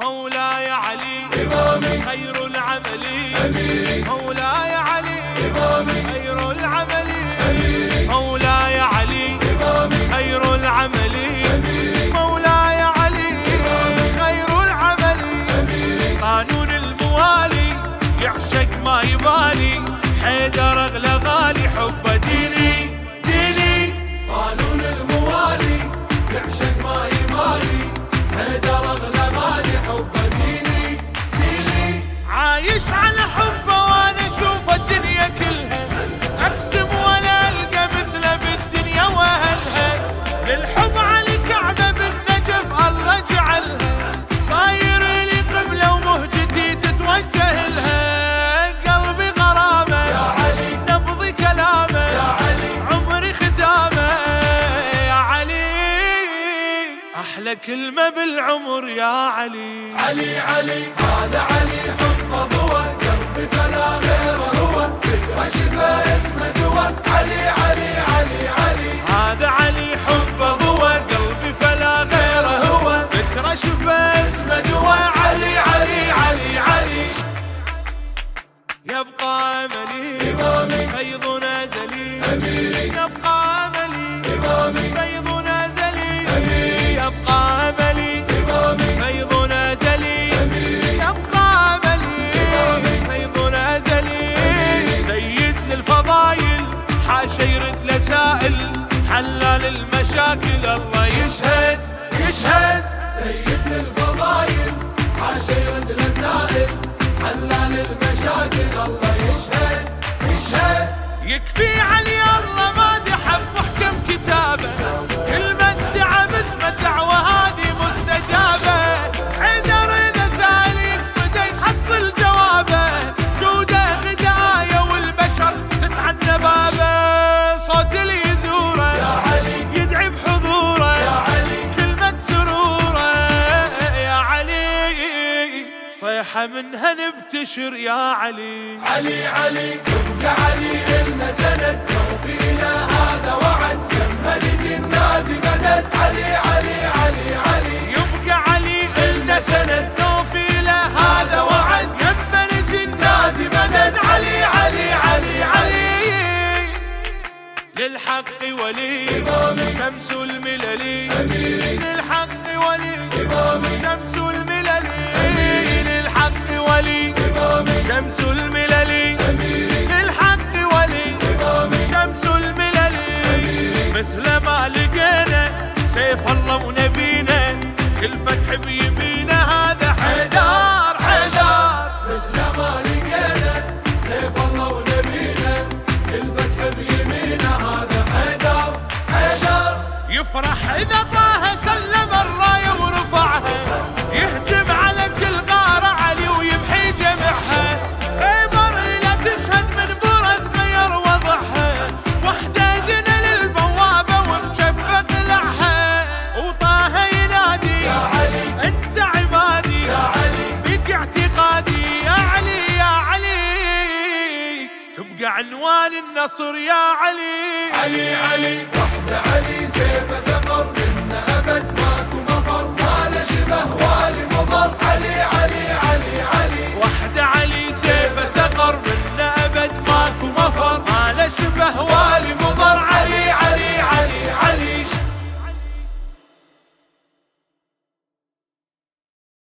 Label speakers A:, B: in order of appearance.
A: مولاي علي إمامي خير العمل أميري مولاي علي إمامي خير العمل أميري مولاي علي إمامي خير العمل أميري مولاي علي إمامي خير العمل أميري قانون الموالي يعشق ما يبالي حيدر أغلى غالي حب ديني ديني
B: قانون الموالي يعشق ما يمالي حيدر اغلى مالي حب ديني ديني
A: عايش على حبه وانا اشوف الدنيا كلها اقسم ولا القى مثله بالدنيا واهلها للحب على الكعبه بالنجف الله جعلها صاير لي قبله ومهجتي تتوجه لها قلبي غرامه يا علي نبضي كلامه يا علي عمري خدامه يا علي احلى كلمه بالعمر يا علي
B: علي علي هذا علي حب ضوى قلبي فلا غير هو فكره شفا اسمه جوى علي علي علي علي
A: هذا علي حب ضوى قلبي فلا غيره هو فكرة شفه اسمه جوا علي علي علي علي يبقى املي
B: إمامي
A: فيض نازلي
B: أميري
A: يبقى املي
B: إمامي
A: فيض نازلي يبقى املي
B: إمامي
A: فيض نازلي
B: أميري
A: يبقى املي فيض نازلي سيد للفضايل حاشا يرد لسائل حلال المشاكل الله يشهد يشهد
B: سيد الفضايل عاشر الرسائل حلال المشاكل الله يشهد يشهد
A: يكفي علي الله ما دحب محكم كتابه كل ما ادعى باسم الدعوه هذه مستجابه عذر نسال يقصده يحصل جوابه جوده غدايه والبشر تتعدى بابه صوت اللي يزوره
B: يا علي
A: يدعي بحضوره
B: يا علي
A: كلمة سروره يا علي صيحة منها نبتشر يا علي
B: علي علي يا علي إلنا سند لو فينا هذا وعد لما نجي النادي مدد علي علي علي علي
A: يبقى علي إلنا سند توفي له هذا وعد يما نجي النادي مدد علي علي علي علي للحق ولي
B: إمامي
A: شمس الملل
B: أميري
A: للحق ولي
B: إمامي
A: شمس الملل للحق ولي
B: إمامي
A: شمس الملل
B: أميري
A: للحق ولي
B: إمامي
A: شمس الملل مثل ما لقينا سيف الله ونبينا كل فتح بيمينا هذا حدار حدار
B: مثل ما لقينا سيف الله ونبينا الفتح بيمينا هذا حيدر حيدر
A: يفرح اذا طه سلم الرايه ورفعها يهجم على كل غاره علي ويمحي جمعها خيبر لا تشهد من برز غير وضعها وحديدنا للبوابه ومشفق لعها وطه ينادي
B: يا علي
A: انت عبادي
B: يا علي
A: بك اعتقادي يا علي يا علي تبقى عنوان النصر يا علي
B: علي علي وحده علي سيف سقر منا ابد ماكو مفر ولا شبه ولا مضر علي علي علي علي
A: وحدة علي سيف سقر منا أبد ماكو مفر ما له شبه